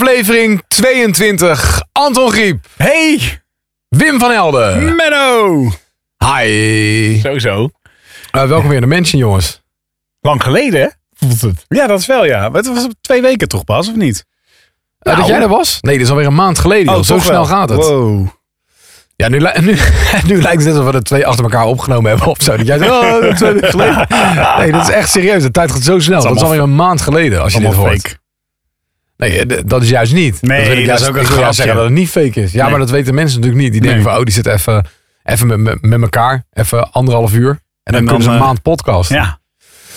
Aflevering 22. Anton Griep, Hey, Wim van Helden. Menno! Hi. Sowieso. Eh, welkom weer in de Mansion, jongens. Eh, Lang geleden, hè? Voelt het? Ja, dat is wel, ja. Maar Het was twee weken toch pas, of niet? dat Nou. jij er was? Nee, dit is alweer een maand geleden. joh. Zo Oh, toch snel wel. gaat het. Wow. Ja, nu, li- nu, nu lijkt het net alsof we de twee achter elkaar opgenomen hebben of zo. Dat jij zegt, oh, dat is twee weken geleden. Nee, dat is echt serieus. De tijd gaat zo snel. Dat is allemaal alweer een maand geleden als je dit Allemaal hoort. fake. Nee, eh, d- dat is juist niet. Nee, wil ik dat juist- is ook een ik wil juist grapje. zeggen dat het niet fake is. Ja, Nee. maar dat weten mensen natuurlijk niet. Die denken Nee. van, oh, die zit even, even met, met, met elkaar. Even anderhalf uur. En dan, dan, kunnen ze een eh, maand podcast. Ja.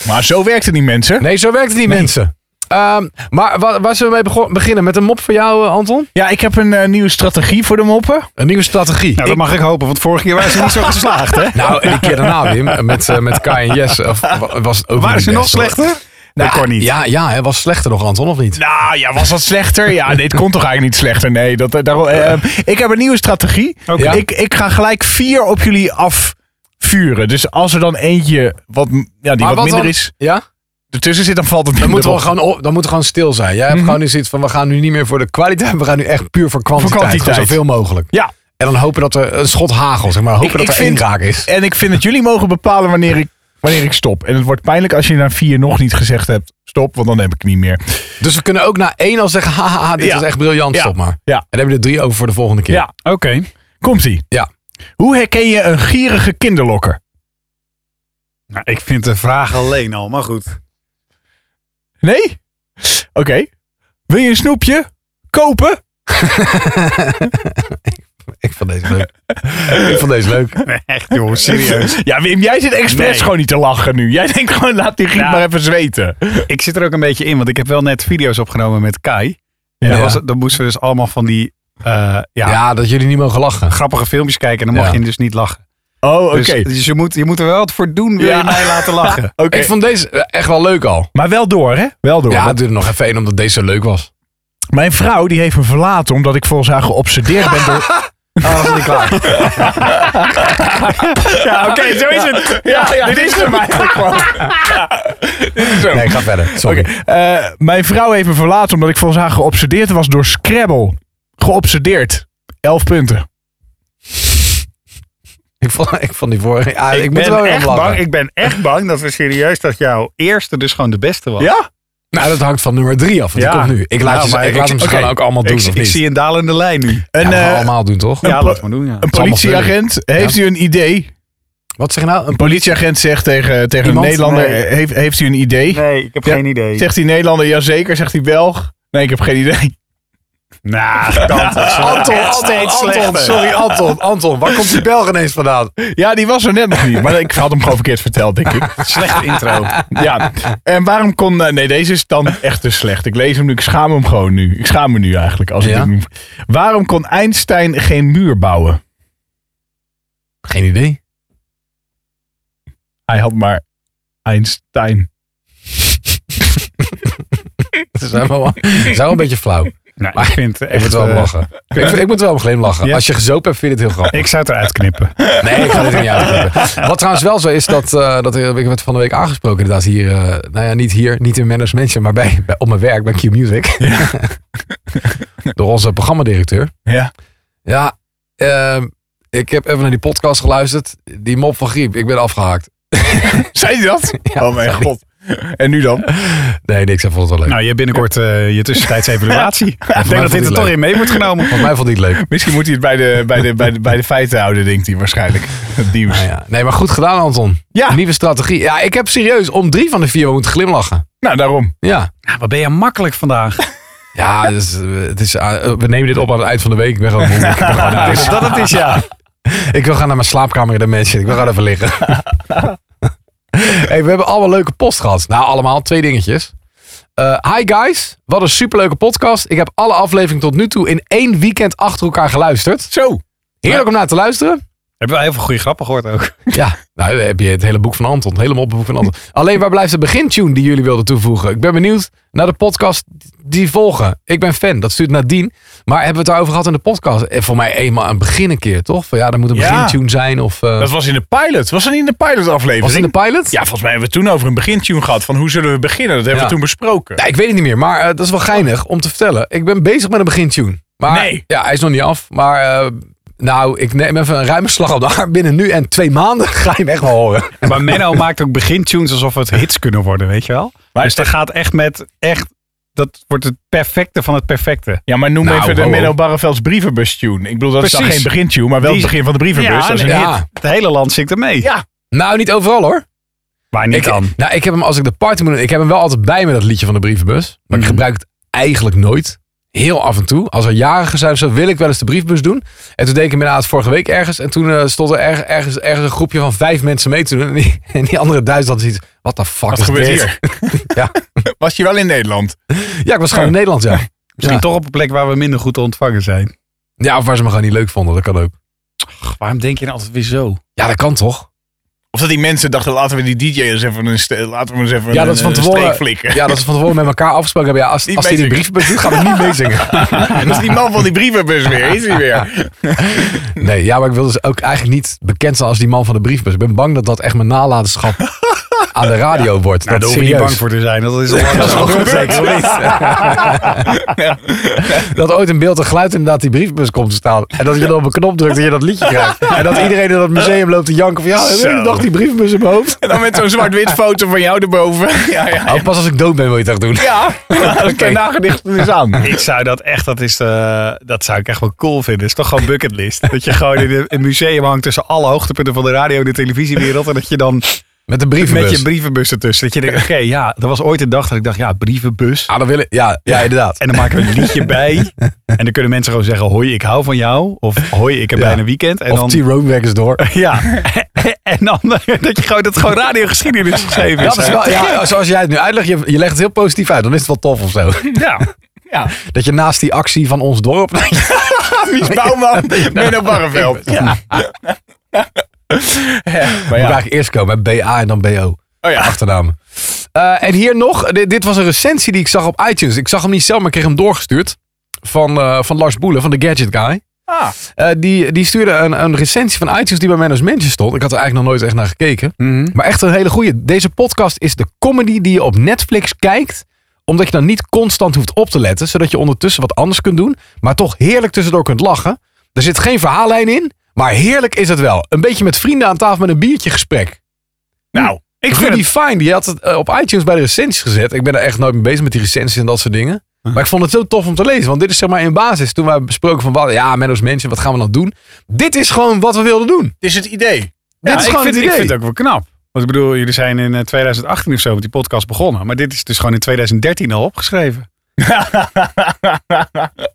Maar zo werkt het niet, mensen. Nee, zo werkt het niet, mensen. Ehm, maar waar, waar zullen we mee begon- beginnen? Met een mop voor jou, eh, Anton? Ja, ik heb een eh, nieuwe strategie voor de moppen. Een nieuwe strategie. Nou, dat mag ik hopen, want vorige keer waren ze niet zo geslaagd, hè? Nou, en die keer daarna, Wim, met, eh, met Kai en Jess, eh, wa- was het ook Waren niet ze nog best, hoor. slechter? Nou, dat kon niet. Ja, ja, hè, was slechter nog, Anton, of niet? Nou ja, was dat slechter? Ja, dit kon toch eigenlijk niet slechter? Nee, dat, eh, daar, eh, ik heb een nieuwe strategie. Ja. Ik, ik ga gelijk vier op jullie afvuren. Dus als er dan eentje wat, ja, die wat, minder dan- is, Ja? ertussen zit, dan valt het Dan minder moeten we op. gewoon, op- dan moeten we gewoon stil zijn. Jij hebt Mhm. gewoon nu zoiets van, we gaan nu niet meer voor de kwaliteit, we gaan nu echt puur voor kwantiteit. kwantiteit. Gewoon zoveel mogelijk. Ja, En dan hopen dat er een schot hagel, zeg maar. Hopen Ik- dat ik er één vind- raak is. en ik vind dat jullie mogen bepalen wanneer ik, wanneer ik stop. En het wordt pijnlijk als je na vier nog niet gezegd hebt, stop, want dan heb ik niet meer. Dus we kunnen ook na één al zeggen, haha, dit Ja. was echt briljant, Ja. stop maar. Ja. En dan hebben we er drie over voor de volgende keer. oké. Komt-ie. Ja. Hoe herken je een gierige kinderlokker? Nou, ik vind de vraag alleen al, maar goed. Nee? Oké. Wil je een snoepje? Kopen? Ik vond deze leuk. ik vond deze leuk. Nee, echt joh, serieus. Ja, Wim, jij zit expres Nee. gewoon niet te lachen nu. Jij denkt gewoon, laat die griep Nou. maar even zweten. ik zit er ook een beetje in, want ik heb wel net video's opgenomen met Kai. Ja. En dan, was, het- dan moesten we dus allemaal van die eh, ja, Ja. dat jullie niet mogen lachen. grappige filmpjes kijken. En dan mag Ja. je dus niet lachen. Oh, oké. Dus, dus je, moet, je moet er wel wat voor doen, wil Ja. je mij laten lachen. Oké. Ik vond deze eh, echt wel leuk al. Maar wel door, hè? Wel door. Ja, Want het duurde nog even één omdat deze zo leuk was. Mijn vrouw die heeft me verlaten omdat ik volgens haar geobsedeerd ben door... Oh, was niet klaar. Ja, oké, zo is het. Ja, dit is hem eigenlijk gewoon. Nee, ga verder. Sorry. Oké, eh, mijn vrouw heeft me verlaten omdat ik volgens haar geobsedeerd was door Scrabble. Geobsedeerd. 11 punten. Ik, vond, ik vond die vorige... Ja, ik, moet er wel weer om lachen. ik ben echt bang dat we serieus dat jouw eerste dus gewoon de beste was. Ja? Nou, dat hangt van nummer drie af. Want Ja. die komt nu. Ik laat, Nou, je, maar ik laat ik- hem oké. misschien ook allemaal doen, ik, of ik niet? zie een dalende lijn nu. Een, ja, we gaan eh, allemaal doen, toch? Ja, pol- laat maar doen. Ja. een politieagent, heeft u een idee? Wat zeg je nou? Een Politieagent zegt tegen, tegen Iemand? een Nederlander, Nee. eh, heeft, heeft u een idee? Nee, ik heb Ja, geen idee. Zegt die Nederlander, jazeker. Zegt die Belg, nee, ik heb geen idee. Nou, dat is wel echt steeds slechter. sorry Anton, Anton, waar komt die Belg ineens vandaan? Ja, die was er net nog niet. Maar ik had hem gewoon verkeerd verteld, denk ik. Slechte intro. Ja. En waarom kon... eh, Nee, deze is dan echt te slecht. Ik lees hem nu. Ik schaam hem gewoon nu. Ik schaam me nu eigenlijk. Als ik Ja? dit noem. Waarom kon Einstein geen muur bouwen? Geen idee. Hij had maar Einstein. Ze zijn wel, ze zijn wel een beetje flauw. Nou, Maar ik vind Ik echt, moet wel om eh, lachen. Ik, vind- ik moet wel om glimlachen. Ja. Als je gezopen hebt, vind je het heel grappig. Ik zou het eruit knippen. Nee, ik ga dit er niet uitknippen. Wat trouwens wel zo is, dat, eh dat ik werd van de week aangesproken inderdaad hier. eh, nou ja, niet hier, niet in Manners Mansion, maar bij, bij- op mijn werk bij Q-Music. Door onze programmadirecteur. Ja. Ja, ehm, ik heb even naar die podcast geluisterd. Die mop van Griep, ik ben afgehaakt. Zei hij dat? oh mijn sorry. god. En nu dan? Nee, niks, hij vond het wel leuk. Nou, je hebt binnenkort eh, je tussentijdse evaluatie. mij ik denk vond dat dit het er toch leuk. in mee wordt genomen. Volgens mij vond hij het leuk. Misschien moet hij het bij de, bij de, bij de, bij de feiten houden, denkt hij waarschijnlijk. Het nieuws. Nou ja. Nee, maar goed gedaan, Anton. Ja. Nieuwe strategie. Ja, ik heb serieus om drie van de vier moeten glimlachen. Nou, daarom. Ja. Nou, wat ben je makkelijk vandaag. Ja, dus, eh, het is, eh, we nemen dit op aan het eind van de week. Ik ben gewoon moe. Ik, ben gewoon- Nou, dat het is, ja. ik wil gaan naar mijn slaapkamer in de mansion. Ik wil gewoon even liggen. hey, we hebben allemaal leuke post gehad. Nou, allemaal. Twee dingetjes. Eh, hi guys, wat een superleuke podcast. Ik heb alle afleveringen tot nu toe in één weekend achter elkaar geluisterd. Zo. Heerlijk om naar te luisteren. Hebben we heel veel goede grappen gehoord ook. Ja, nou dan heb je het hele boek van Anton. Het hele moppenboek van Anton. Alleen waar blijft de begintune die jullie wilden toevoegen? Ik ben benieuwd naar de podcast die volgen. Ik ben fan, dat stuurt Nadine. Maar hebben we het daarover gehad in de podcast? Eh, Voor mij eenmaal aan het begin een keer, toch? Van ja, er moet een Ja. begintune zijn. Of eh, Dat was in de pilot. Was dat niet in de pilot aflevering? was het in de pilot? Ja, volgens mij hebben we het toen over een begintune gehad. Van hoe zullen we beginnen? Dat hebben Ja. we toen besproken. Ja, ik weet het niet meer, maar eh, dat is wel geinig om te vertellen. Ik ben bezig met een begintune. Maar, Nee. Ja, hij is nog niet af. Maar eh, nou, ik neem even een ruime slag op de arm. Binnen nu en twee maanden ga je hem echt wel horen. Maar Menno maakt ook begintunes alsof het hits kunnen worden, weet je wel? dus dat gaat echt met, echt, dat wordt het perfecte van het perfecte. Ja, maar noem Nou, even de ho, ho. Menno Barrevelds brievenbus-tune. Ik bedoel, dat is dan Precies. geen begintune, maar wel Die- het begin van de brievenbus. Ja, dat is een nee. hit. Ja. Het hele land zingt ermee. Ja. Nou, niet overal hoor. Maar niet ik, dan. Nou, ik heb hem als ik de party moet doen, ik heb hem wel altijd bij me dat liedje van de brievenbus. Maar Mhm. ik gebruik het eigenlijk nooit. Heel af en toe. Als er jarigen zijn of zo, wil ik wel eens de brievenbus doen. En toen deed ik hem inderdaad vorige week ergens. En toen eh, stond er erg- ergens, ergens een groepje van vijf mensen mee te doen. En die, en die andere Duitsland ziet, wat de fuck Wat is gebeurt dit? hier? Ja. Was je wel in Nederland? Ja, ik was gewoon in Nederland, ja. Misschien Ja. toch op een plek waar we minder goed te ontvangen zijn. Ja, of waar ze me gewoon niet leuk vonden, dat kan ook. waarom denk je nou altijd weer zo? Ja, dat kan toch? Of dat die mensen dachten, laten we die DJ eens even een, ste- laten we eens even Ja, een, eh, dat is van een tevoren- steek flikken. Ja, dat ze van tevoren met elkaar afgesproken hebben. Ja, als, Niet als hij die meezingen. brievenbus doet, gaan we niet meezingen. dat is die man van die brievenbus weer, is hij weer. Nee, ja, maar ik wil dus ook eigenlijk niet bekend zijn als die man van de briefbus. Ik ben bang dat dat echt mijn nalatenschap aan de radio wordt. Nou, dat is daar hoef je niet serieus. bang voor te zijn. Dat is al lang Dat is al gebeurd, zeker Dat ooit in beeld en geluid inderdaad die briefbus komt te staan. En dat je dan op een knop drukt en je dat liedje krijgt. En dat iedereen in dat museum loopt te janken van... Ja, Zo. ik dacht die briefbus in mijn hoofd. En dan met zo'n zwart-wit foto van jou erboven. Ja, ja. Oh, pas als ik dood ben wil je het echt doen. Ja, dat kan nagedicht is aan. Ik zou dat echt, dat, is, eh, dat zou ik echt wel cool vinden. is toch gewoon bucketlist. Dat je gewoon in een- een museum hangt tussen alle hoogtepunten van de radio en de televisiewereld. En dat je dan Met de met brievenbus. je brievenbus ertussen. Dat je denkt, oké, ja, er was ooit een dag dat ik dacht, ja, brievenbus. ah, dan wil ik, ja, ja, inderdaad. En dan maken we een liedje bij. En dan kunnen mensen gewoon zeggen, hoi, ik hou van jou. Of hoi, ik heb Ja. bijna weekend. En of dan, T-Rome weg eens door. ja. en dan dat je gewoon, dat gewoon radiogeschiedenis geschreven is. Dat is wel, ja, zoals jij het nu uitlegt, je, je legt het heel positief uit. Dan is het wel tof of zo. ja. ja. Dat je naast die actie van ons dorp... Mies Bouwman, Menno Barreveld. Ja. Moet ik eigenlijk eerst komen, hè? BA en dan BO. Oh ja. Achternaam. Eh, en hier nog, di- dit, was een recensie die ik zag op iTunes. Ik zag hem niet zelf, maar ik kreeg hem doorgestuurd. Van, eh, van Lars Boelen, van de Gadget Guy. Ah. Eh, die, die stuurde een, een recensie van iTunes die bij Manage Mansion stond. Ik had er eigenlijk nog nooit echt naar gekeken. Mhm. Maar echt een hele goeie. Deze podcast is de comedy die je op Netflix kijkt. Omdat je dan niet constant hoeft op te letten. Zodat je ondertussen wat anders kunt doen. Maar toch heerlijk tussendoor kunt lachen. Er zit geen verhaallijn in. Maar heerlijk is het wel. Een beetje met vrienden aan tafel met een biertje gesprek. Nou, ik vind Rudy Fine, die had het eh, op iTunes bij de recensies gezet. Ik ben er echt nooit mee bezig met die recensies en dat soort dingen. Maar ik vond het zo tof om te lezen. Want dit is zeg maar in basis. Toen we besproken van, wat, ja, Menno's mensen, wat gaan we dan doen? Dit is gewoon wat we wilden doen. het is het idee. dit is ik gewoon vind, het Ik idee. vind het ook wel knap. Want ik bedoel, jullie zijn in eh, 2018 of zo met die podcast begonnen. Maar dit is dus gewoon in 2013 al opgeschreven.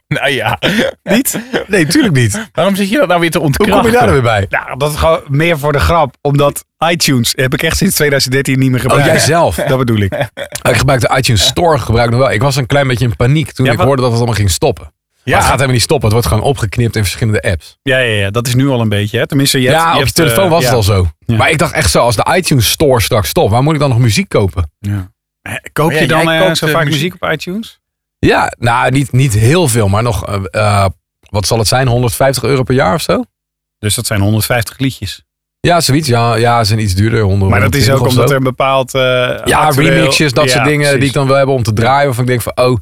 Nou ja, Niet? Nee, tuurlijk niet. Hoe waarom zit je dat nou weer te ontkrachten? kom je daar dan weer bij? Nou, dat is gewoon meer voor de grap. Omdat iTunes heb ik echt sinds 2013 niet meer Oh, gebruikt. jij zelf. Dat bedoel ik. Ik gebruikte iTunes Store gebruik nog wel. Ik was een klein beetje in paniek toen Ja, ik maar- hoorde dat het allemaal ging stoppen. Maar Ja. het gaat helemaal niet stoppen. Het wordt gewoon opgeknipt in verschillende apps. Ja, ja, ja, dat is nu al een beetje. Hè. Tenminste, je hebt, ja, op je hebt, telefoon eh, was ja. het al zo. Maar ik dacht echt zo, als de iTunes Store straks stopt, waar moet ik dan nog muziek kopen? Eh, Koop Maar je ja, dan jij eh, koopt, zo eh, vaak muziek. muziek. op iTunes? Ja, nou, niet, niet heel veel, maar nog, eh, eh, wat zal het zijn, 150 euro per jaar of zo? Dus dat zijn 150 liedjes. Ja, zoiets. Ja, ja ze zijn iets duurder. 100, Maar dat is 120 ook of omdat zo. er een bepaald... eh, Ja, actueel- remixes, dat Ja, soort dingen die precies. ik dan wil hebben om te draaien. Waarvan ik denk van, oh,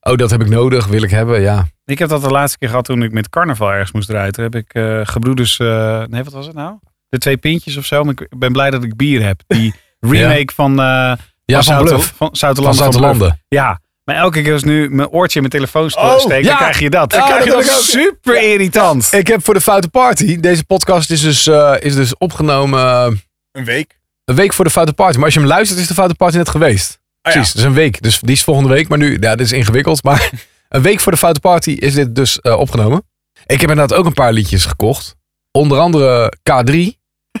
oh, dat heb ik nodig, wil ik hebben, ja. Ik heb dat de laatste keer gehad toen ik met carnaval ergens moest draaien. Toen heb ik eh, gebroeders... eh, nee, wat was het nou? De twee pintjes of zo. Maar ik ben blij dat ik bier heb. Die remake van... eh Ja, van Zoute- Bluff. Van Van Zoutelanden. van Bluff. Zoutelanden. Ja. Maar elke keer als ik nu mijn oortje in mijn telefoon st- Oh, steek, ja. dan krijg je dat. Dan Ja, krijg je dat dat wil ik ook. super irritant. Ik heb voor de Foute Party, deze podcast is dus, eh, is dus opgenomen eh, Een week. een week voor de Foute Party. Maar als je hem luistert, is de Foute Party net geweest. Ah, ja. Precies, dus een week. Dus die is volgende week. Maar nu, ja, dit is ingewikkeld. Maar een week voor de Foute Party is dit dus eh, opgenomen. Ik heb inderdaad ook een paar liedjes gekocht. Onder andere K3.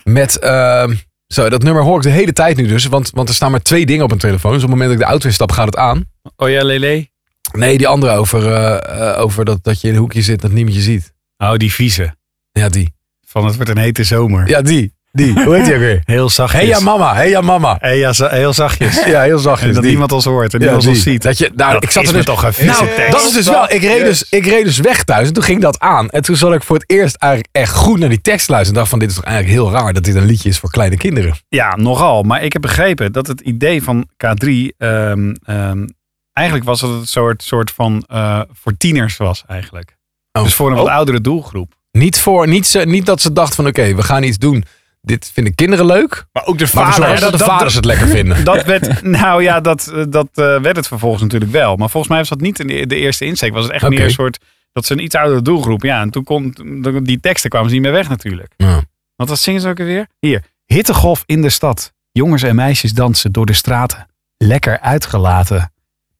Met, ehm, zo, dat nummer hoor ik de hele tijd nu dus. Want, want er staan maar twee dingen op mijn telefoon. Dus op het moment dat ik de auto instap, gaat het aan. Oh ja, Lele. Nee, die andere over, eh, eh, over dat, dat je in een hoekje zit en dat niemand je ziet. Oh, die vieze. Ja, die. Van het wordt een hete zomer. Ja, die. Die. Hoe heet die ook weer? Heel zachtjes. Hey ja mama, hey ja mama. Hey, ja, za- heel zachtjes. Ja, heel En zachtjes. dat die. iemand ons hoort en Ja, niemand die. ons ziet. Dat je, nou, Dat ik zat is er me dus, toch een vieze nou, tekst. dat is dus wel. Ik reed dus, ik reed dus weg thuis en toen ging dat aan. En toen zat ik voor het eerst eigenlijk echt goed naar die tekst luisteren. En dacht van, dit is toch eigenlijk heel raar dat dit een liedje is voor kleine kinderen. Ja, nogal. Maar ik heb begrepen dat het idee van K3 ehm, ehm, eigenlijk was dat het een soort, soort van eh, voor tieners was eigenlijk. Oh. Dus voor een wat Oh. oudere doelgroep. Niet, voor, niet, ze, niet dat ze dachten van, oké, we gaan iets doen. Dit vinden kinderen leuk. Maar ook de Maar we vader. zorgen ja, dat de dat- vaders het lekker vinden. Dat werd, nou ja, dat, eh, dat eh, werd het vervolgens natuurlijk wel. Maar volgens mij was dat niet in de, de eerste insteek. Was het echt Oké. meer een soort, dat ze een iets oudere doelgroep. Ja, en toen kon, toen- die teksten kwamen ze niet meer weg natuurlijk. Ja. Want wat zingen ze ook weer? Hier, hittegolf in de stad. Jongens en meisjes dansen door de straten. Lekker uitgelaten.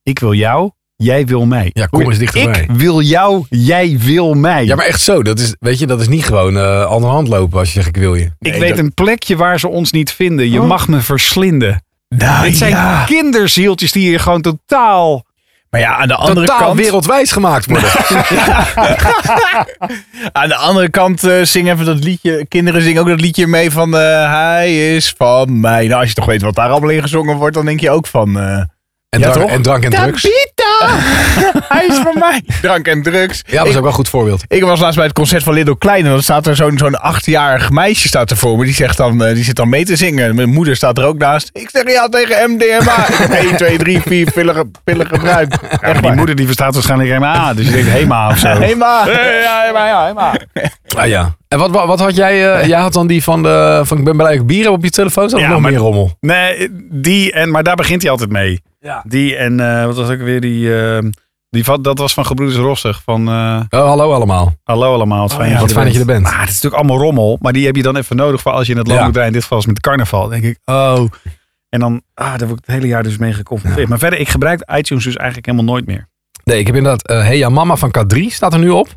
Ik wil jou, jij wil mij. Ja, kom eens dichterbij. Ik wil jou, jij wil mij. Ja, maar echt zo. Dat is, weet je, dat is niet gewoon eh aan de hand lopen als je zegt ik wil je. ik weet een plekje waar ze ons niet vinden. Je Oh. mag me verslinden. Nou Ah, Dit zijn ja. kinderzieltjes die hier gewoon totaal... Maar ja, aan de andere Totaal kant. wereldwijs gemaakt worden. Aan de andere kant eh, zing even dat liedje. Kinderen zingen ook dat liedje mee van eh, Hij is van mij. Nou, als je toch weet wat daar allemaal in gezongen wordt, dan denk je ook van. eh En, Ja, drank, toch? en drank en drugs. Tabitha! hij is van mij. Drank en drugs. Ja, dat is ook wel een goed voorbeeld. Ik was laatst bij het concert van Little Klein en dan staat er zo'n zo'n achtjarig meisje staat er voor me. Die, zegt dan, eh, die zit dan mee te zingen. Mijn moeder staat er ook naast. Ik zeg ja tegen MDMA. 1, 2, 3, 4, pillen, pillen gebruikt. Ja, maar die moeder die verstaat waarschijnlijk helemaal. Dus je denkt HEMA of zo. Hema. ja, HEMA, ja, HEMA. Ah ja. En wat, wat, wat had jij? eh, jij had dan die van, de, van ik ben blij dat ik bier heb op je telefoon. Zat er Ja, nog maar- meer rommel? Nee, die en... Maar daar begint hij altijd mee. Ja. Die en... eh, wat was ook weer die... eh, die van- dat was van Gebroeders Rossig. Van eh, Oh, hallo allemaal. Hallo allemaal. Wat fijn, ja, dat Oh, Wat je fijn dat je er bent. Maar het is natuurlijk allemaal rommel. Maar die heb je dan even nodig voor als je in het land Ja. moet rijden. In dit geval is het met carnaval. Dan denk ik, oh. En dan, ah, daar word ik het hele jaar dus mee geconfronteerd. Maar verder, ik gebruik iTunes dus eigenlijk helemaal nooit meer. Nee, ik heb inderdaad eh Hey Ja Mama van K3 staat er nu op.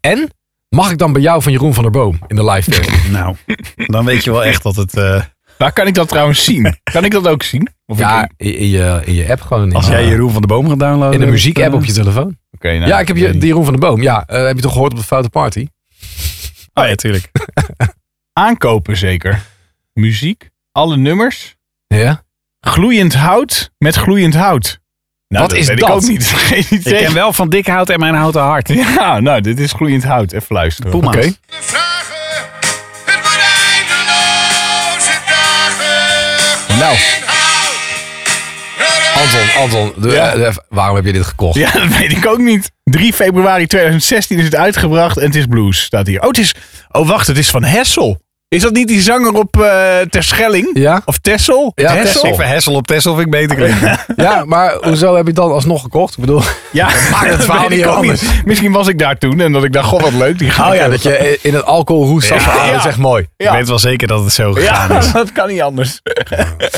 En mag ik dan bij jou van Jeroen van der Boom in de live versie? Nou, dan weet je wel echt dat het... eh, Waar Nou, kan ik dat trouwens zien? Kan ik dat ook zien? Of ik- ja, in, in je, in je app gewoon. als in, jij eh, Jeroen van de Boom gaat downloaden... in de muziek-app dan- op je telefoon. Oké, nou, ja, ik heb je, weet die Jeroen van der Boom. Ja, eh, heb je toch gehoord op de Foute Party? Oh ja, tuurlijk. aankopen zeker. Muziek, alle nummers. Ja. Gloeiend hout met gloeiend hout. Nou, Wat is weet dat? Ik ook niet. Geen Ik idee. ken wel Van Dik Hout en Mijn Houten Hart. Ja, nou, dit is gloeiend hout. Even luisteren. Poema's. Oké. De vragen, het wordt eindeloze dagen. Nou. Inhoud. Anton, Anton, de- Ja. eh, waarom heb je dit gekocht? Ja, dat weet ik ook niet. 3 februari 2016 is het uitgebracht en het is blues, staat hier. Oh, het is, oh wacht, het is van Hessel. Is dat niet die zanger op eh Terschelling? Ja? Of Tessel? Ja, Texel. Ik vind Hessel op Tessel vind ik beter klinken. Ja, maar hoezo heb je het dan alsnog gekocht? Ik bedoel, Ja, maar het verhaal niet anders. Misschien was ik daar toen en dat ik dacht, god wat leuk. Die gaat oh ja, dat je in het alcohol roest. zat. Ja. Ah, Dat is echt mooi. Ja. Ik weet wel zeker dat het zo gegaan Ja, is. dat kan niet anders.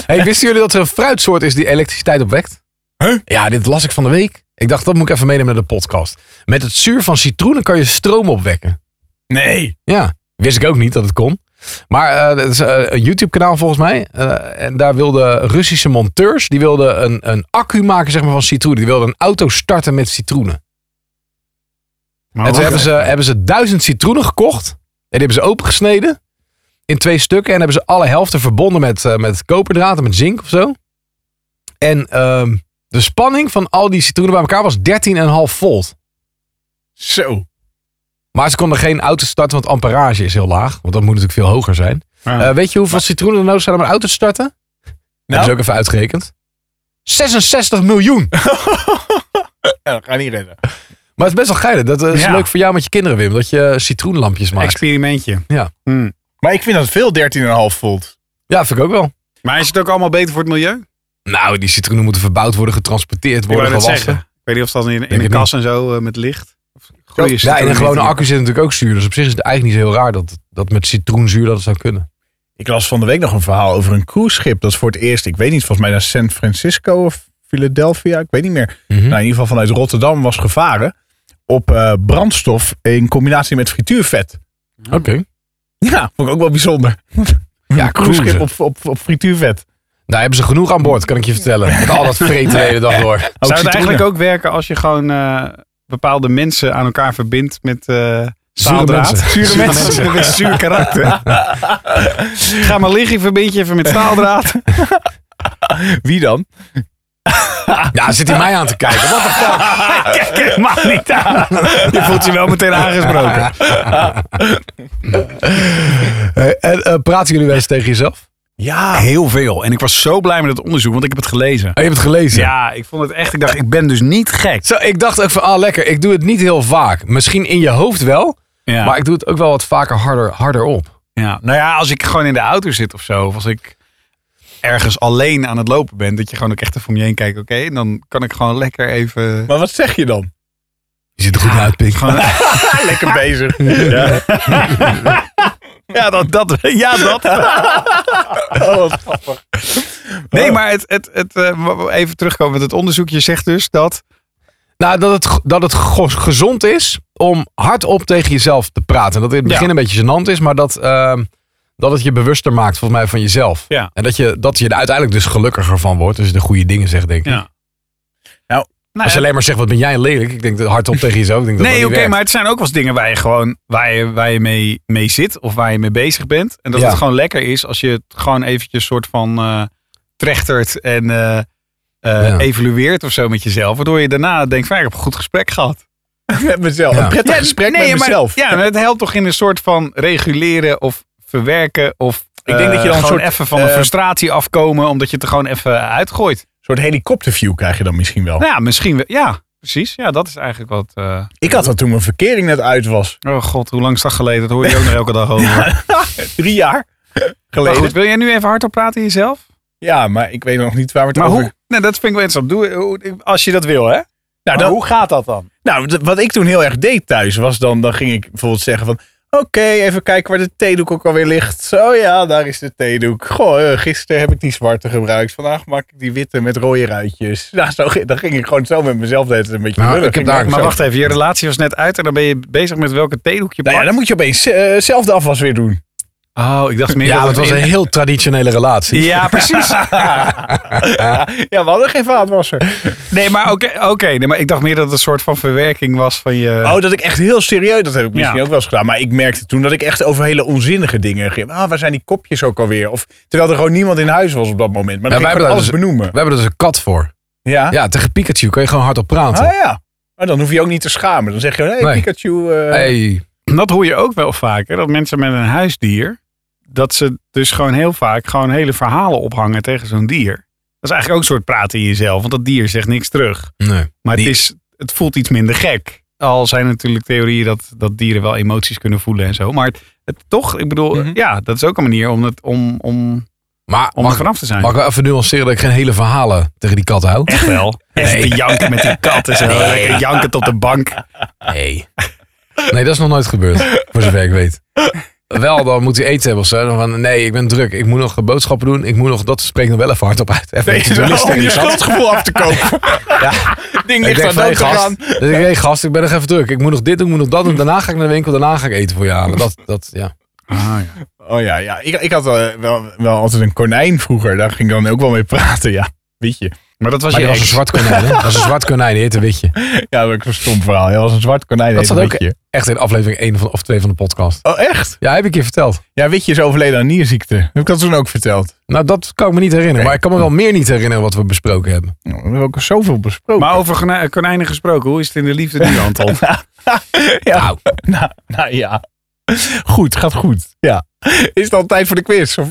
Hey, wisten jullie dat er een fruitsoort is die elektriciteit opwekt? Huh? Ja, dit las ik van de week. Ik dacht, dat moet ik even meenemen naar de podcast. Met het zuur van citroenen kan je stroom opwekken. Nee. Ja, wist ik ook niet dat het kon. Maar eh, dat is eh, een YouTube-kanaal volgens mij. Eh, en daar wilden Russische monteurs, die wilden een, een accu maken zeg maar, van citroenen. Die wilden een auto starten met citroenen. Maar en toen wat- hebben ze, hebben ze duizend citroenen gekocht. En die hebben ze opengesneden in twee stukken. En hebben ze alle helften verbonden met, eh, met koperdraad en met zink of zo. En ehm, de spanning van al die citroenen bij elkaar was 13,5 volt. Zo. Maar ze konden geen auto starten, want amperage is heel laag. Want dat moet natuurlijk veel hoger zijn. Ja. Eh, weet je hoeveel citroenen er nodig zijn om een auto te starten? Dat is ook even uitgerekend. 66 miljoen. Ja, ga niet redden. Maar het is best wel geinig. Dat eh, is Ja. leuk voor jou met je kinderen, Wim. Dat je citroenlampjes maakt. Experimentje. Ja. Hmm. Maar ik vind dat veel 13,5 volt. ja, vind ik ook wel. Maar is het ook allemaal beter voor het milieu? Nou, die citroenen moeten verbouwd worden, getransporteerd Ik wou worden, net gewassen. zeggen. Ik weet niet of dat in, in Denk een het kas en zo eh, met licht. Of goede ja, en citroen- een gewone accu zit natuurlijk ook zuur. Dus op zich is het eigenlijk niet zo heel raar dat, dat met citroenzuur dat het zou kunnen. Ik las van de week nog een verhaal over een cruiseschip. Dat is voor het eerst, ik weet niet, volgens mij naar San Francisco of Philadelphia. Ik weet niet meer. Mhm. Nou, in Hm? ieder geval vanuit Rotterdam was gevaren op eh, brandstof in combinatie met frituurvet. Oké. Ja, vond ik ook wel bijzonder. Hm, Ja, Een cruiseschip cruisen. op, op, op frituurvet. Daar hebben ze genoeg aan boord, kan ik je vertellen. Met al dat vreten de hele dag door. Ook Zou het citroenen. eigenlijk ook werken als je gewoon eh, bepaalde mensen aan elkaar verbindt met eh, Staaldraad. Zure mensen. mensen met een zuur karakter. Ga maar liggen, verbind je even met staaldraad. Wie dan? Ja, zit hij mij aan te kijken. Wat een Kijk helemaal niet aan. Je voelt je wel meteen aangesproken. Hey, en, eh, praten jullie wel eens tegen jezelf? Ja. Heel veel. En ik was zo blij met het onderzoek, want ik heb het gelezen. Oh, je hebt het gelezen? Ja, ik vond het echt. Ik dacht, ik ben dus niet gek. Zo, ik dacht ook van, ah lekker, ik doe het niet heel vaak. Misschien in je hoofd wel, Ja. maar ik doe het ook wel wat vaker harder, harder op. Ja, nou ja, als ik gewoon in de auto zit of zo, of als ik ergens alleen aan het lopen ben, dat je gewoon ook echt even om je heen kijkt, oké, en dan kan ik gewoon lekker even... Maar wat zeg je dan? Je ziet er goed uit, Pik. Gewoon, Lekker bezig. Ja. ja, dat, dat, ja, dat. Oh, wat grappig. Nee, maar het, het, het, eh, even terugkomen met het onderzoek. Je zegt dus dat... Nou, dat het, dat het go- gezond is om hardop tegen jezelf te praten. Dat het in het begin Ja. een beetje gênant is, maar dat, ehm, dat het je bewuster maakt, volgens mij, van jezelf. Ja. En dat je, dat je er uiteindelijk dus gelukkiger van wordt, als je de goede dingen zegt, denk ik. Ja. Eh. Nou, Als je alleen maar zegt, wat ben jij lelijk? Ik denk dat hardop tegen jezelf. Ik denk dat dat Nee, niet oké, werkt. maar het zijn ook wel eens dingen waar je gewoon waar je, waar je mee, mee zit of waar je mee bezig bent. En dat Ja. het gewoon lekker is als je het gewoon eventjes soort van eh trechtert en eh, eh, Ja. evalueert of zo met jezelf. Waardoor je daarna denkt van ja, ik heb een goed gesprek gehad. Met mezelf. Ja. Een prettig gesprek nee, met maar- mezelf. Ja, maar het helpt toch in een soort van reguleren of verwerken of... Ik denk dat je dan een gewoon soort, even van de eh, frustratie afkomen, omdat je het er gewoon even uitgooit. Een soort helikopterview krijg je dan misschien wel. Nou ja, misschien wel. Ja, precies. Ja, dat is eigenlijk wat. eh, Ik had dat toen mijn verkering net uit was. oh god, hoe lang is dat geleden? Dat hoor je ook nog elke dag over. Drie jaar Maar geleden. goed, wil jij nu even hardop praten in jezelf? ja, maar ik weet nog niet waar we het Maar over... hoe? Nee, dat vind ik wel interessant. Doe, hoe- als je dat wil, hè? Nou, Maar dan, hoe gaat dat dan? nou, d- wat ik toen heel erg deed thuis was dan... Dan ging ik bijvoorbeeld zeggen van... Oké, even kijken waar de theedoek ook alweer ligt. Zo ja, daar is de theedoek. Goh, eh, gisteren heb ik die zwarte gebruikt. Vandaag maak ik die witte met rode ruitjes. Nou, zo, ging- dan ging ik gewoon zo met mezelf de hele tijd een beetje Nou, lullen. ik heb Ging daar- ik Maar Zo. wacht even, je relatie was net uit en dan ben je bezig met welke theedoek je Nou ja, pakt. dan moet je opeens eh, zelf de afwas weer doen. Oh, ik dacht meer Ja, dat maar het was een in- heel traditionele relatie. Ja, precies. Ja, we hadden geen vaatwasser. Nee, maar oké, oké. nee, maar ik dacht meer dat het een soort van verwerking was van je... Oh, dat ik echt heel serieus, dat heb ik misschien Ja. ook wel eens gedaan. Maar ik merkte toen dat ik echt over hele onzinnige dingen ging. Ah, waar zijn die kopjes ook alweer? Of, terwijl er gewoon niemand in huis was op dat moment. Maar Ja, dan wij ging ik hebben gewoon alles daar benoemen. We hebben er dus een kat voor. Ja? Ja, tegen Pikachu kun je gewoon hardop praten. Ah ja. Maar dan hoef je ook niet te schamen. Dan zeg je, hé hey, Nee. Pikachu. eh, Hey, Dat hoor je ook wel vaker, dat mensen met een huisdier... dat ze dus gewoon heel vaak gewoon hele verhalen ophangen tegen zo'n dier. Dat is eigenlijk ook een soort praten in jezelf, want dat dier zegt niks terug. nee. Maar het, Die- is, het voelt iets minder gek. Al zijn er natuurlijk theorieën dat, dat dieren wel emoties kunnen voelen en zo. Maar het, het toch, ik bedoel, Mhm. ja, dat is ook een manier om, het, om, om, Maar om er mag, vanaf te zijn. mag ik wel even nuanceren dat ik geen hele verhalen tegen die kat hou? Echt wel. Echt te janken met die kat en zo. Lekker janken op de bank. Ah, Nee. Nee, dat is nog nooit gebeurd, voor zover ik weet. Wel, dan moet hij eten hebben of zo. Dan Van, nee, ik ben druk. Ik moet nog boodschappen doen. Ik moet nog... Dat spreekt nog wel even hard op uit. Even een beetje om journalist tegen oh, je die kat. schuldgevoel af te kopen. Ding Ik ligt denk aan van, hey, dood te gast. gaan. Dus ik, hey, gast, ik ben nog even druk. Ik moet nog dit doen, ik moet nog dat doen. Daarna ga ik naar de winkel, daarna ga ik eten voor je halen. Dat, dat, ja. Ah, Oh ja, ja. Ik, ik had eh, wel, wel altijd een konijn vroeger. Daar ging ik dan ook wel mee praten, ja. Weet je. Maar dat was Maar je die was een zwart ex. konijn, hè? Dat was een zwart konijn, die heette Witje. Ja, dat is een stom verhaal. Hij was een zwart konijn. Dat heet zat ook Witje. echt in aflevering 1 of 2 van de podcast. Oh, echt? Ja, heb ik je verteld. Ja, Witje is overleden aan nierziekte. Heb ik dat toen ook verteld? Nou, dat kan ik me niet herinneren. Maar ik kan me wel meer niet herinneren wat we besproken hebben. Nou, we hebben ook zoveel besproken. Maar over kona- konijnen gesproken, hoe is het in de liefde nu, Anton? ja. Nou. nou, nou ja. Goed, gaat goed. Ja. Is het al tijd voor de quiz? Of,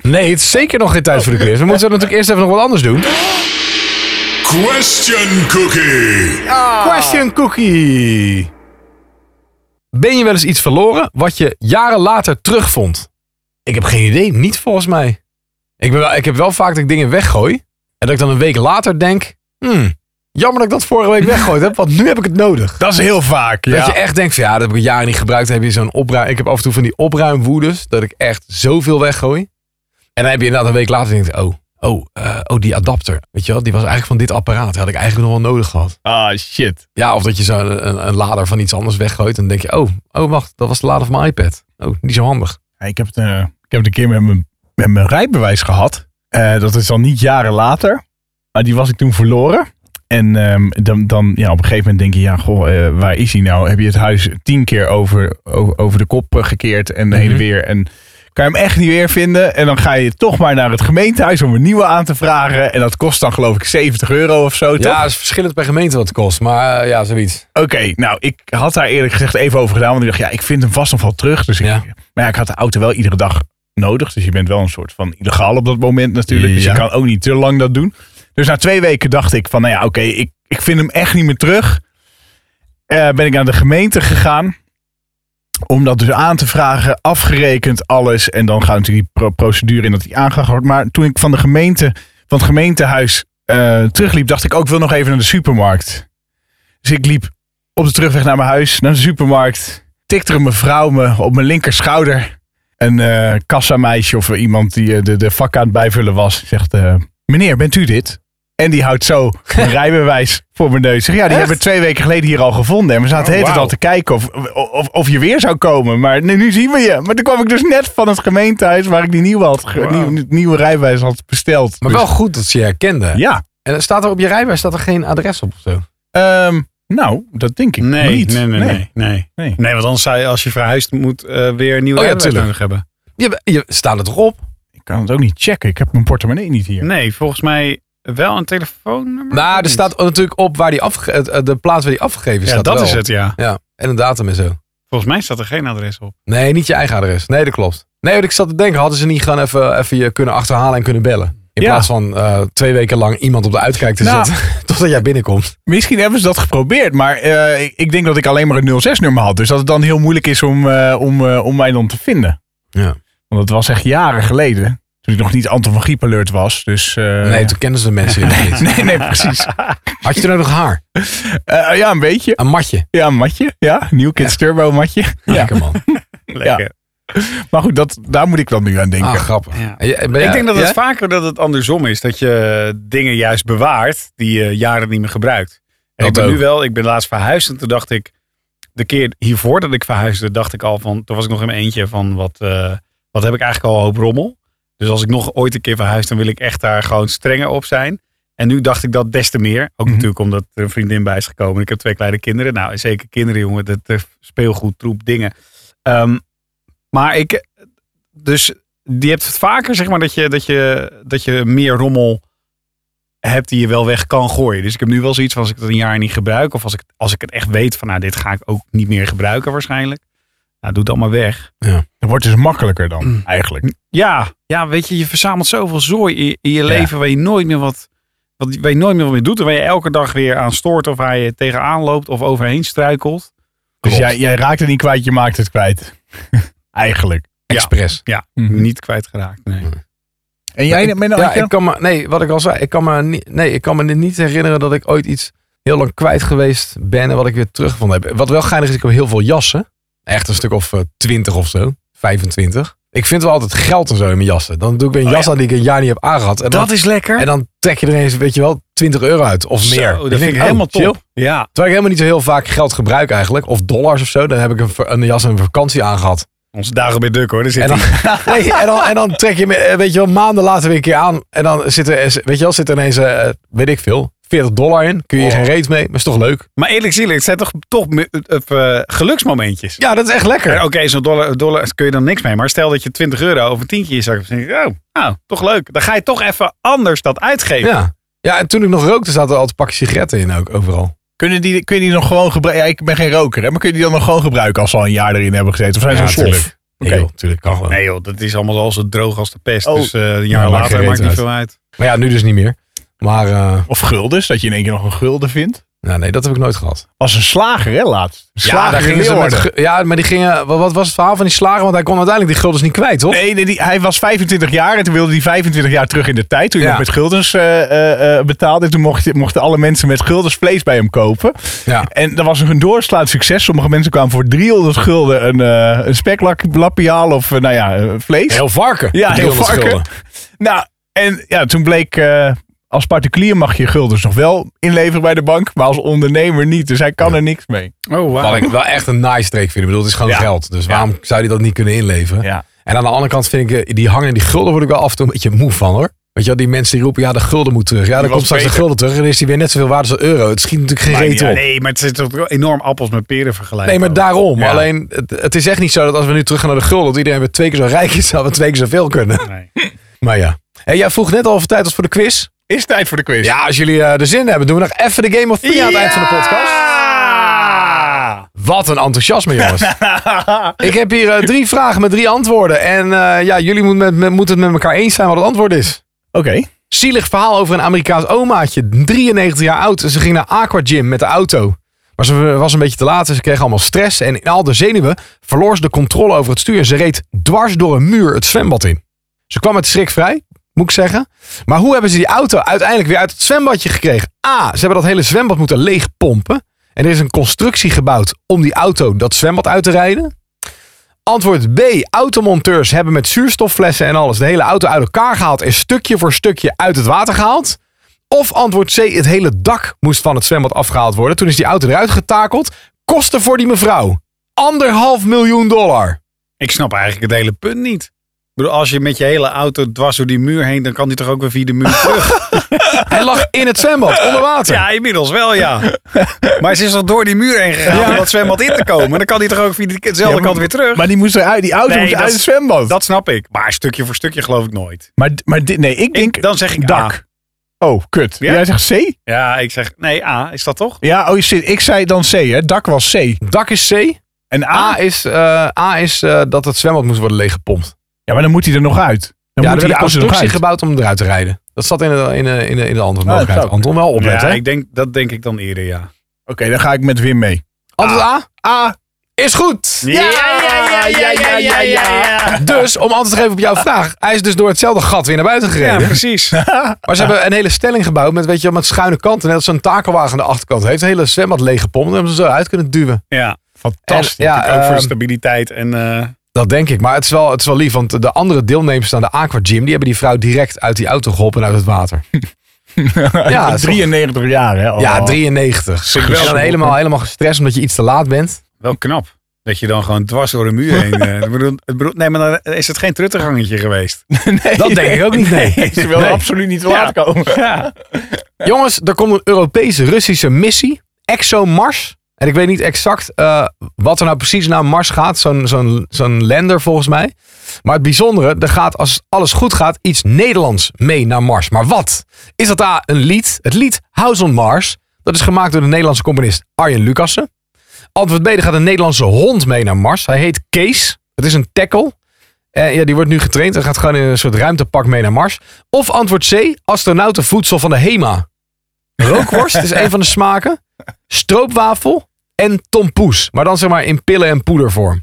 Nee, het is zeker nog geen tijd voor de quiz. We moeten natuurlijk eerst even nog wat anders doen. Question Cookie. Ah. Question cookie. Ben je wel eens iets verloren wat je jaren later terugvond? Ik heb geen idee. Niet volgens mij. Ik, ben wel, ik heb wel vaak dat ik dingen weggooi. En dat ik dan een week later denk... Hmm, jammer dat ik dat vorige week weggooid heb, want nu heb ik het nodig. dat is heel vaak. Dat je echt denkt van ja, dat heb ik jaren niet gebruikt. Dan heb je zo'n opruim. Ik heb af en toe van die opruimwoeders dat ik echt zoveel weggooi. En dan heb je inderdaad een week later denk je, oh, oh, eh, oh, die adapter. Weet je wel, die was eigenlijk van dit apparaat. Die had ik eigenlijk nog wel nodig gehad. Ah, shit. Ja, of dat je zo'n een, een lader van iets anders weggooit. En dan denk je, oh, oh, wacht, dat was de lader van mijn iPad. Oh, niet zo handig. Ja, ik, heb het, eh, ik heb het een keer met mijn, met mijn rijbewijs gehad. Eh, dat is dan niet jaren later. Maar die was ik toen verloren. En ehm, dan, dan ja, op een gegeven moment denk je, ja, goh, eh, waar is hij nou? Heb je het huis tien keer over, o- over de kop eh, gekeerd en heen en weer. En kan je hem echt niet weer vinden. En dan ga je toch maar naar het gemeentehuis om een nieuwe aan te vragen. En dat kost dan geloof ik 70 euro of zo, Ja, toch? het is verschillend per gemeente wat het kost. Maar eh, ja, zoiets. Oké, nou, ik had daar eerlijk gezegd even over gedaan. Want ik dacht, ja, ik vind hem vast nog wel terug. Dus ik, Ja. Maar ja, ik had de auto wel iedere dag nodig. Dus je bent wel een soort van illegaal op dat moment natuurlijk. Dus je Ja. kan ook niet te lang dat doen. Dus na twee weken dacht ik van, nou ja, oké, ik, ik vind hem echt niet meer terug. Eh, ben ik naar de gemeente gegaan. Om dat dus aan te vragen, afgerekend alles. En dan gaat natuurlijk die pro- procedure in dat die aangehouden wordt. Maar toen ik van de gemeente, van het gemeentehuis eh, terugliep, dacht ik ook, ik wil nog even naar de supermarkt. Dus ik liep op de terugweg naar mijn huis, naar de supermarkt. Tikte een mevrouw me op mijn linkerschouder. Een eh, kassameisje of iemand die eh, de, de vak aan het bijvullen was. Zegt, eh, meneer, bent u dit? En die houdt zo mijn rijbewijs voor mijn neus. Zeg, ja, die hebben we twee weken geleden hier al gevonden. En we zaten de hele tijd Oh, wauw. al te kijken of, of, of je weer zou komen. Maar nu, nu zien we je. Maar toen kwam ik dus net van het gemeentehuis waar ik die nieuwe, had, ge- Wauw. nieuw- nieuwe rijbewijs had besteld. Maar Dus- wel goed dat ze je herkende. Ja. En er staat er op je rijbewijs staat er geen adres op of zo? Ehm, nou, dat denk ik Nee, niet. nee, nee, nee, nee. Nee. Nee, want anders zou je als je verhuist moet eh, weer een nieuwe Oh ja, rijbewijs tuurlijk. nodig hebben. Je, je staat er toch op? Ik kan het ook niet checken. Ik heb mijn portemonnee niet hier. Nee, volgens mij wel een telefoonnummer. Nou, Of er niet? staat natuurlijk op waar die afge- het- eh, de plaats waar die afgegeven Ja, staat dat wel. is het, ja. Ja, en een datum en zo. Volgens mij staat er geen adres op. Nee, niet je eigen adres. Nee, dat klopt. Nee, want ik zat te denken, hadden ze niet gewoon even, even je kunnen achterhalen en kunnen bellen? In Ja. plaats van eh, twee weken lang iemand op de uitkijk te Nou. zetten totdat jij binnenkomt. Misschien hebben ze dat geprobeerd, maar eh, ik, ik denk dat ik alleen maar een 06-nummer had. Dus dat het dan heel moeilijk is om, eh, om, eh, om mij dan te vinden. Ja. Want dat was echt jaren geleden. Toen ik nog niet Anton van Giep alert was. Dus, eh, nee, toen kenden ze de mensen helemaal niet. nee, nee, precies. Had je toen ook nog haar? Eh, ja, een beetje. Een matje. Ja, een matje. Ja, New Kids Turbo matje. Ja. Lekker man. Lekker. Maar goed, dat, daar moet ik dan nu aan denken. Ah, grappig. Ja. En je- ben jij- ik denk dat het ja? vaker dat het andersom is. Dat je dingen juist bewaart die je jaren niet meer gebruikt. En Dat ik ben ook. nu wel, ik ben laatst verhuisd en toen dacht ik, de keer hiervoor dat ik verhuisde, dacht ik al van, toen was ik nog in mijn eentje van, wat, eh, wat heb ik eigenlijk al een hoop rommel. Dus als ik nog ooit een keer verhuis, dan wil ik echt daar gewoon strenger op zijn. En nu dacht ik dat des te meer. Ook Mhm. natuurlijk omdat er een vriendin bij is gekomen. Ik heb twee kleine kinderen. Nou, en zeker kinderen, jongen. Dat eh, speelgoed, troep, dingen. Ehm, maar ik... Dus die hebt het vaker, zeg maar, dat je, dat, je, dat je meer rommel hebt die je wel weg kan gooien. Dus ik heb nu wel zoiets van, als ik het een jaar niet gebruik... of als ik, als ik het echt weet van, nou, dit ga ik ook niet meer gebruiken waarschijnlijk. Nou, doe het allemaal weg. Dat wordt dus makkelijker Mm. dan, eigenlijk. Ja, ja, weet je, je verzamelt zoveel zooi in, in je leven waar je nooit meer wat, wat, waar je nooit meer wat mee doet. En waar je elke dag weer aan stoort of waar je tegenaan loopt of overheen struikelt. Dus Klopt. jij, jij raakt het niet kwijt, je maakt het kwijt. eigenlijk. Express. Mhm. Niet kwijtgeraakt, nee. En jij, Menno, Mm. Nou, Ja, had je- ik kan me, nee, wat ik al zei, ik kan me, niet, nee, ik kan me niet herinneren dat ik ooit iets heel lang kwijt geweest ben en wat ik weer teruggevonden heb. Wat wel geinig is, ik heb heel veel jassen. Echt een stuk of eh, twintig of zo, 25. Ik vind wel altijd geld en zo in mijn jassen. Dan doe ik Oh, weer een jas aan die ik een jaar niet heb aangehad. En dan, is lekker. en dan trek je er eens, weet je wel, 20 euro uit of Zo, meer. dat Ik vind denk, ik oh, helemaal chill. top. Ja, Terwijl ik helemaal niet zo heel vaak geld gebruik eigenlijk. Of dollars of zo. Dan heb ik een, ver- een jas en een vakantie aangehad. onze dagen bij Duk hoor. Daar zit En dan, hij. nee, en, dan, en dan trek je me, eh, weet je wel, maanden later weer een keer aan. En dan zit er, eh, weet je wel, zit er ineens, eh, weet ik veel, 40 dollar in. Kun je hier Oh. geen reet mee, maar is toch leuk? Maar eerlijk zielig, het zijn toch, toch me- eh, eh, geluksmomentjes. Ja, dat is echt En lekker. Oké, zo'n dollar, dollar kun je dan niks mee. Maar stel dat je 20 euro of een tientje in je zak hebt. Dan denk je, oh, nou, toch leuk. Dan ga je toch even anders dat uitgeven. Ja. ja, en toen ik nog rookte, zaten er altijd pakken sigaretten in ook, overal. Kunnen die, kun je die nog gewoon gebruiken? Ja, ik ben geen roker, hè? maar kun je die dan nog gewoon gebruiken als ze al een jaar erin hebben gezeten? Of zijn ze een slof? natuurlijk. Oké. Nee, joh, tuurlijk kan gewoon. Nee joh, dat is allemaal al zo droog als de pest. Oh. Dus eh, een jaar Nou, maakt later geen maakt reet niet uit. veel uit. Maar ja, nu dus niet meer. Maar eh, Of guldens, dat je in één keer nog een gulden vindt. nou, nee, dat heb ik nooit gehad. Als een slager, hè, laatst. Een slager in ze met, Leeuwarden. ge- ja, maar die gingen, wat, wat was het verhaal van die slager? Want hij kon uiteindelijk die guldens niet kwijt, toch? Nee, nee die, hij was 25 jaar en toen wilde hij 25 jaar terug in de tijd. Toen hij Ja. nog met guldens eh, eh, eh, betaalde. En toen mocht- mochten alle mensen met guldens vlees bij hem kopen. Ja. En dat was een doorslaand succes. Sommige mensen kwamen voor 300 gulden een, eh een speklapje halen of eh, nou ja, eh, vlees. Heel varken. Ja, Met heel 300 varken. gulden. Nou, en ja, toen bleek eh, als particulier mag je guldens nog wel inleveren bij de bank, maar als ondernemer niet. Dus hij kan er niks mee. Oh, Wat ik wel echt een nice streek vind. Ik bedoel, het is gewoon Ja. geld. Dus waarom zou die dat niet kunnen inleveren? Ja. En aan de andere kant vind ik eh, die hangen en die gulden word ik wel af en toe een beetje moe van hoor. Weet Weet je wel, die mensen die roepen, ja, de gulden moet terug. Ja, dan was komt straks de beter. gulden terug en dan is die weer net zoveel waard als een euro. Het schiet natuurlijk geen Maar reet ja, op. nee, maar het is toch wel enorm appels met peren vergelijken. Nee, maar ook. daarom. Ja. Alleen, het, het is echt niet zo dat als we nu terug gaan naar de gulden, dat iedereen weer twee keer zo rijk is, dat we twee keer zoveel kunnen. Nee. Maar ja. Hey, jij vroeg net al of het tijd was voor de quiz. Is tijd voor de quiz. Ja, als jullie eh, er zin in hebben, doen we nog even de Game of Three aan het eind van de podcast. Ah! Wat een enthousiasme, jongens. ik heb hier eh, drie vragen met drie antwoorden. En eh, ja, jullie moeten met, met- moeten het met elkaar eens zijn wat het antwoord is. Oké. Zielig verhaal over een Amerikaans omaatje, 93 jaar oud. En ze ging naar Aqua Gym met de auto. Maar ze was een beetje te laat en ze kreeg allemaal stress. En in al de zenuwen verloor ze de controle over het stuur. En ze reed dwars door een muur het zwembad in. Ze kwam met schrik vrij, moet ik zeggen. Maar hoe hebben ze die auto uiteindelijk weer uit het zwembadje gekregen? A, ze hebben dat hele zwembad moeten leegpompen. En er is een constructie gebouwd om die auto dat zwembad uit te rijden. Antwoord B. Automonteurs hebben met zuurstofflessen en alles de hele auto uit elkaar gehaald en stukje voor stukje uit het water gehaald. Of antwoord C. Het hele dak moest van het zwembad afgehaald worden. Toen is die auto eruit getakeld. Kosten voor die mevrouw. Anderhalf miljoen dollar. Ik snap eigenlijk het hele punt niet. Ik bedoel, als je met je hele auto dwars door die muur heen, dan kan die toch ook weer via de muur terug? Hij lag in het zwembad, onder water. ja, inmiddels wel, ja. Maar ze is al door die muur heen gegaan om dat zwembad in te komen. Dan kan die toch ook via dezelfde maar- kant weer terug? Maar die, moest eruit, die auto Nee, moest dat uit is- het zwembad. Dat snap ik. Maar stukje voor stukje geloof ik nooit. maar maar dit, nee, ik denk... Ik, dan zeg ik dak. A. Oh, kut. Ja? Jij zegt C? Ja, ik zeg, nee, A, is dat toch? Ja, oh, shit. ik zei dan C, hè. Dak was C. Dak is C. En A? A is, eh, A is eh, dat het zwembad moest worden leeggepompt. Ja, maar dan moet hij er nog uit. ja, er Dan moet werd die een auto er nog constructie uit. Ah, gebouwd om eruit te rijden. Dat zat in de, in de, in de, in de andere dat mogelijkheid. zou Anton, wel opletten. ja, hè? ik denk, dat denk ik dan eerder, ja. Oké, dan ga ik met Wim mee. Antwoord A? A is goed. ja, ja, ja, ja, ja. Dus, om antwoord te geven op jouw vraag. Hij is dus door hetzelfde gat weer naar buiten Ja, gereden. precies. maar ze hebben een hele stelling gebouwd met, weet je, wel, met schuine kanten. Net als zo'n takelwagen aan de achterkant heeft. Het hele zwembad leeggepompt. En hebben ze zo uit kunnen duwen. Ja, Fantastisch. En, ja, natuurlijk ook voor ehm, stabiliteit en... eh, Dat denk ik. Maar het is wel, het is wel lief. Want de andere deelnemers aan de Aqua Gym. Die hebben die vrouw direct uit die auto geholpen en uit het water. ja, dat is toch- 93 jaar, hè. Oh. Ja, 93. Vind ik wel en dan goed. helemaal, helemaal gestrest omdat je iets te laat bent. Wel knap. Dat je dan gewoon dwars door een muur heen. eh, ik bedoel, het bedoel- nee, maar dan is het geen truttengangetje geweest. Nee, Dat denk ik ook niet, nee. ze wil Nee. absoluut niet te laat komen. Jongens, er komt een Europese Russische missie, ExoMars. En ik weet niet exact eh, wat er nou precies naar Mars gaat, zo'n zo'n zo'n lander volgens mij. Maar het bijzondere, er gaat als alles goed gaat iets Nederlands mee naar Mars. Maar wat? Is dat A, een lied? Het lied House on Mars. Dat is gemaakt door de Nederlandse componist Arjen Lucassen. Antwoord B, er gaat een Nederlandse hond mee naar Mars. Hij heet Kees. Het is een tackle. Eh, ja, die wordt nu getraind en gaat gewoon in een soort ruimtepak mee naar Mars. Of antwoord C, astronautenvoedsel van de HEMA. Rookworst is een van de smaken. Stroopwafel en tompoes. Maar dan zeg maar in pillen en poedervorm.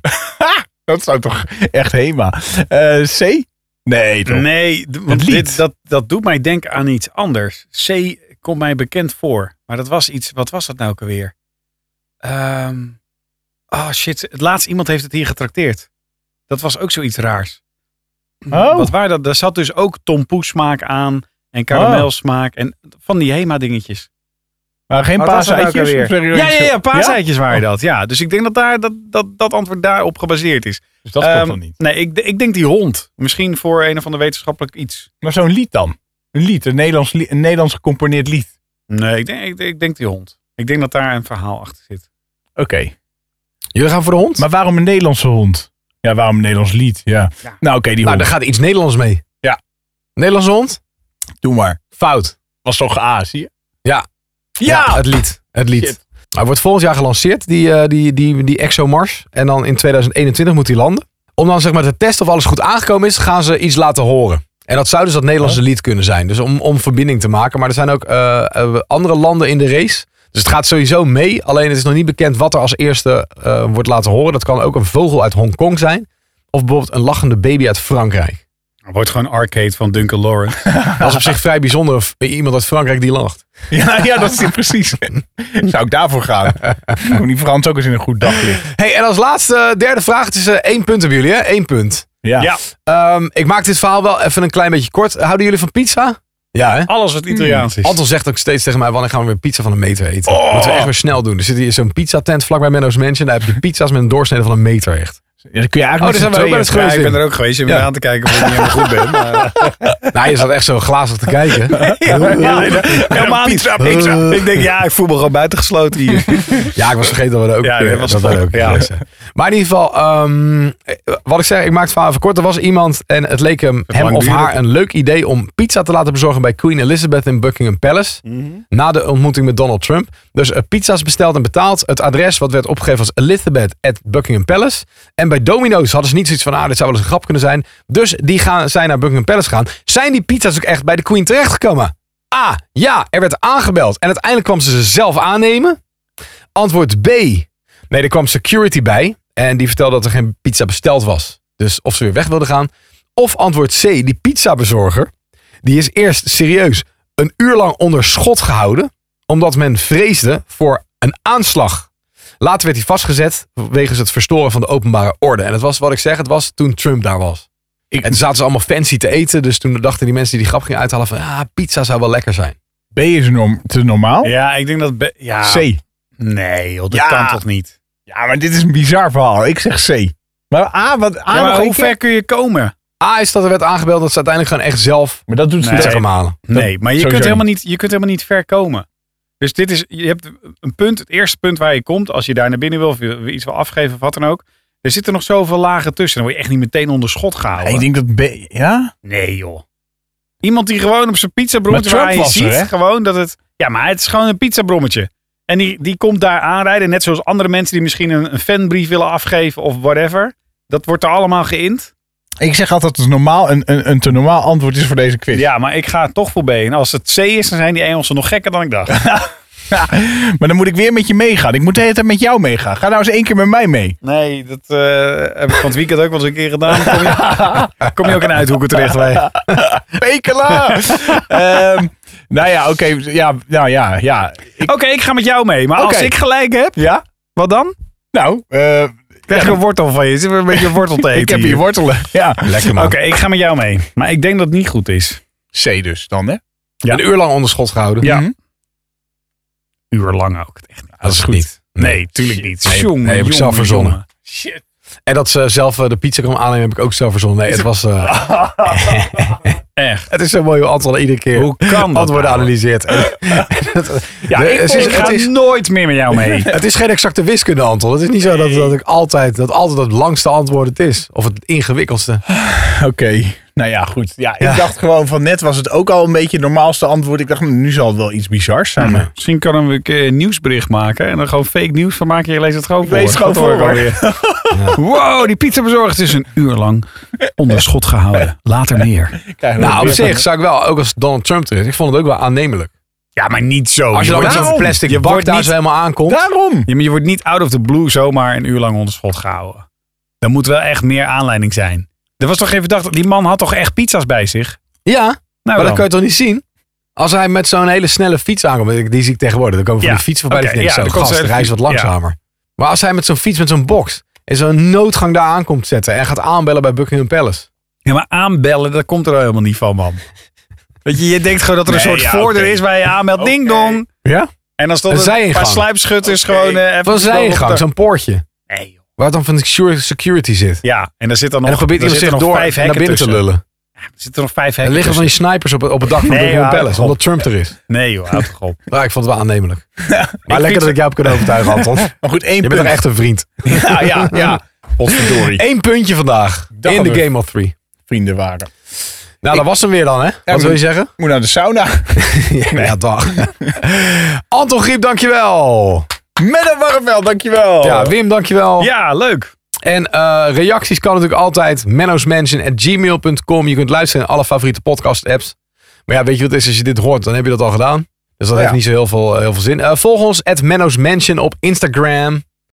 Dat zou toch echt HEMA. Eh, C? Nee, toch? Nee, d- want lied. dit, dat, dat doet mij denken aan iets anders. C komt mij bekend voor. Maar dat was iets. Wat was dat nou ook alweer? Ehm oh shit. Het laatst iemand heeft het hier getrakteerd. Dat was ook zoiets raars. Oh, Wat waren dat? Daar zat dus ook tompoesmaak aan. En Oh. karamelsmaak. En van die HEMA-dingetjes. maar geen Wat was dat ook paaseitjes? alweer? of zeg je Ja, ja, ja. zo- Paaseitjes waren Oh. dat. Ja. Dus ik denk dat, daar, dat, dat dat antwoord daarop gebaseerd is. Dus dat Ehm, klopt dan niet. Nee, ik, ik denk die hond. Misschien voor een of ander wetenschappelijk iets. Maar zo'n lied dan? Een lied, een Nederlands, lied- een Nederlands gecomponeerd lied. Nee, ik denk, ik, ik denk die hond. Ik denk dat daar een verhaal achter zit. Oké. Jullie gaan voor de hond? Maar waarom een Nederlandse hond? Ja, waarom een Nederlands lied? Ja. Ja. Nou, oké, die nou, hond. daar gaat iets Nederlands mee. Ja. Nederlandse hond? Doe maar. Fout. Was toch A, zie je? Ja. Ja! het lied. Het lied. Shit. Hij wordt volgend jaar gelanceerd, die, eh, die, die, die ExoMars. En dan in 2021 moet hij landen. Om dan zeg maar te testen of alles goed aangekomen is, gaan ze iets laten horen. En dat zou dus dat Oh. Nederlandse lied kunnen zijn. Dus om, om verbinding te maken. Maar er zijn ook eh, eh, andere landen in de race. Dus het gaat sowieso mee. Alleen het is nog niet bekend wat er als eerste eh, wordt laten horen. Dat kan ook een vogel uit Hongkong zijn. Of bijvoorbeeld een lachende baby uit Frankrijk. Het wordt gewoon arcade van Duncan Lawrence. Dat is op zich vrij bijzonder. of Iemand uit Frankrijk die lacht. Ja, ja dat is het precies. Zou ik daarvoor gaan? Moet die Frans ook eens in een goed daglicht. Hey, en als laatste, derde vraag. Het is eh, één punt hebben jullie, hè? Eén punt. Ja. Ja. Ehm, ik maak dit verhaal wel even een klein beetje kort. Houden jullie van pizza? Ja, hè? Alles wat Italiaans is. Anton zegt ook steeds tegen mij, wanneer gaan we weer pizza van een meter eten? Oh. Moeten we echt weer snel doen. Er zit hier zo'n pizzatent vlakbij Menno's Mansion. Daar heb je pizza's met een doorsnede van een meter echt. Ja, dan kun je eigenlijk Oh, daar met zijn z'n we ook tweeën- wel eens geweest. Ja, ik ben in. er ook geweest om je aan te kijken of ik niet helemaal goed ben. Maar, Nou, je zat echt zo glazig te kijken. ja, Uh. helemaal niet. Ik, Eh, ik denk, ja, ik voel me gewoon buitengesloten hier. Ja, ik was vergeten dat we er ook, Ja, eh, dat was dat we er top, ook ja. geweest zijn. Maar in ieder geval, ehm, eh, wat ik zeg, ik maak het verhaal even kort. Er was iemand en het leek hem, hem lang of duurde. haar een leuk idee om pizza te laten bezorgen bij Queen Elizabeth in Buckingham Palace. Na de ontmoeting met Donald Trump. Dus eh, pizza's besteld en betaald. Het adres wat werd opgegeven was Elizabeth at Buckingham Palace. En bij Domino's hadden ze niet zoiets van, ah, dit zou wel eens een grap kunnen zijn. Dus die gaan, zijn naar Buckingham Palace gaan. Zijn die pizza's ook echt bij de Queen terechtgekomen? A. Ja, er werd aangebeld. En uiteindelijk kwam ze ze zelf aannemen. Antwoord B. Nee, er kwam security bij. En die vertelde dat er geen pizza besteld was. Dus of ze weer weg wilde gaan. Of antwoord C. Die pizzabezorger. Die is eerst serieus een uur lang onder schot gehouden. Omdat men vreesde voor een aanslag. Later werd hij vastgezet wegens het verstoren van de openbare orde. En dat was wat ik zeg, het was toen Trump daar was. Ik- En toen zaten ze allemaal fancy te eten. Dus toen dachten die mensen die die grap gingen uithalen van... Ah, pizza zou wel lekker zijn. B is norm, te normaal. Ja, ik denk dat... be- Ja. C. Nee, joh, dat Ja. kan toch niet? Ja, maar dit is een bizar verhaal. Ik zeg C. Maar A, wat A Ja, nog maar een hoe keer? ver kun je komen? A is dat er werd aangebeld dat ze uiteindelijk gewoon echt zelf Maar dat doet ze Nee. niet. tegen hem halen. Nee, maar je sowieso kunt, helemaal niet, je kunt helemaal niet ver komen. Dus dit is, je hebt een punt, het eerste punt waar je komt, als je daar naar binnen wil of je iets wil afgeven of wat dan ook. Er zitten nog zoveel lagen tussen, dan word je echt niet meteen onder schot gehouden. Ja, ik denk dat B, ja? Nee, joh. Iemand die gewoon op zijn pizzabrommetje, Maar waar Trump je was er, ziet hè? gewoon dat het... Ja, maar het is gewoon een pizzabrommetje. En die, die komt daar aanrijden, net zoals andere mensen die misschien een, een fanbrief willen afgeven of whatever. Dat wordt er allemaal geïnd. Ik zeg altijd dat het normaal een, een, een te normaal antwoord is voor deze quiz. Ja, maar ik ga toch voor B. En als het C is, dan zijn die Engelsen nog gekker dan ik dacht. Maar dan moet ik weer met je meegaan. Ik moet de hele tijd met jou meegaan. Ga nou eens één keer met mij mee. Nee, dat eh, heb ik van het weekend ook wel eens een keer gedaan. Kom je, kom je ook in uithoeken terecht bij. Pekela! Ehm, nou ja, oké. ja, nou ja, ja. Ik- Oké, ik ga met jou mee. Maar als Oké. ik gelijk heb, ja? wat dan? Nou, eh, Krijg ik een wortel van je. Zit een beetje wortel te eten ik heb hier. hier wortelen. Ja. Lekker Oké, ik ga met jou mee. Maar ik denk dat het niet goed is. C dus dan, hè? Ja. Een uur lang onder schot gehouden. Ja. Mhm. Uur lang ook. Echt, nou, dat is goed. niet. Nee, tuurlijk Shit. niet. Nee, jongen, nee, heb ik jongen, zelf verzonnen. jongen. Shit. En dat ze zelf eh, de pizza kwam aannemen, heb ik ook zelf verzonnen. Nee, het was. eh, Echt. het is zo mooi hoe Anton iedere keer Hoe kan dat? antwoorden nou? analyseert. Ja, Nee, ik, het is- ik ga het is- nooit meer met jou mee. het is geen exacte wiskunde, Anton. Het is niet zo dat, dat ik altijd dat altijd het langste antwoord het is. Of het ingewikkeldste. Oké. Nou ja, goed. Ja, ik dacht gewoon van net was het ook al een beetje het normaalste antwoord. Ik dacht, "Hmm, nu zal het wel iets bizars zijn. Maar Misschien kan hem ik, eh, een nieuwsbericht maken en er gewoon fake nieuws van maken. Je leest het gewoon voor. lees het gewoon Dat hoor ik voor. alweer. Wow, die pizza bezorgd is een uur lang onder schot gehouden. Later meer. Krijgen we Nou, op weer- zich zou ik wel, ook als Donald Trump er is, ik vond het ook wel aannemelijk. Ja, maar niet zo. Als je dan wordt met zo'n daarom- je plastic wordt bak daar niet- zo helemaal aankomt. Daarom. Ja, maar je wordt niet out of the blue zomaar een uur lang onder schot gehouden. Er moet wel echt meer aanleiding zijn. Er was toch even dacht, die man had toch echt pizza's bij zich? Ja, Nou, maar dat dan. kun je toch niet zien? Als hij met zo'n hele snelle fiets aankomt, die zie ik tegenwoordig. Dan komen van Ja, die fiets voorbij. oké, dat je denkt, ja, zo, dan komt gast, zo'n reis wat fiets- langzamer. Maar als hij met zo'n fiets, met zo'n box, in zo'n noodgang daar aankomt zetten en gaat aanbellen bij Buckingham Palace. Ja, maar aanbellen, dat komt er helemaal niet van, man. Weet je, je denkt gewoon dat er een Nee, soort ja, voordeur oké. is waar je aanmeldt. Oké. Ding dong. Ja? En als dat Een een paar zijingang. sluipschutters gewoon eh, even... Dat was zijn gang, zo'n poortje. Nee, joh. Waar dan van de secure- security zit. Ja, en daar zit dan En nog, dan probeert iemand daar zitten zich nog door naar vijf hekken binnen te tussen. lullen. Er zitten nog vijf Er hekken liggen van die snipers op, het- op het dak van Nee, Buckingham ja, Palace, kom. omdat Trump er is. tussen. Nee joh, houd toch op. Nou, ik vond het wel aannemelijk. Maar lekker vind- dat ik jou heb kunnen overtuigen, Anton. Maar goed, één Je bent punt. toch echt een vriend. Ja, ja, ja. Potverdorie. Eén puntje vandaag. dacht In al de weer. Game of Three. Vrienden waren. Nou, dat was hem weer dan, hè? Wat wil je maar- zeggen? Moet naar de sauna. Ja, dag. Anton Griep, Oh. dankjewel. Met een warmveld, dankjewel. Ja, Wim, dankjewel. Ja, leuk. En eh, reacties kan natuurlijk altijd menno'smansion.gmail.com. Je kunt luisteren in alle favoriete podcast-apps. Maar ja, weet je wat het is? Als je dit hoort, dan heb je dat al gedaan. Dus dat Ja. Eh, heeft niet zo heel veel, heel veel zin. Eh, volg ons, at menno'smansion op Instagram.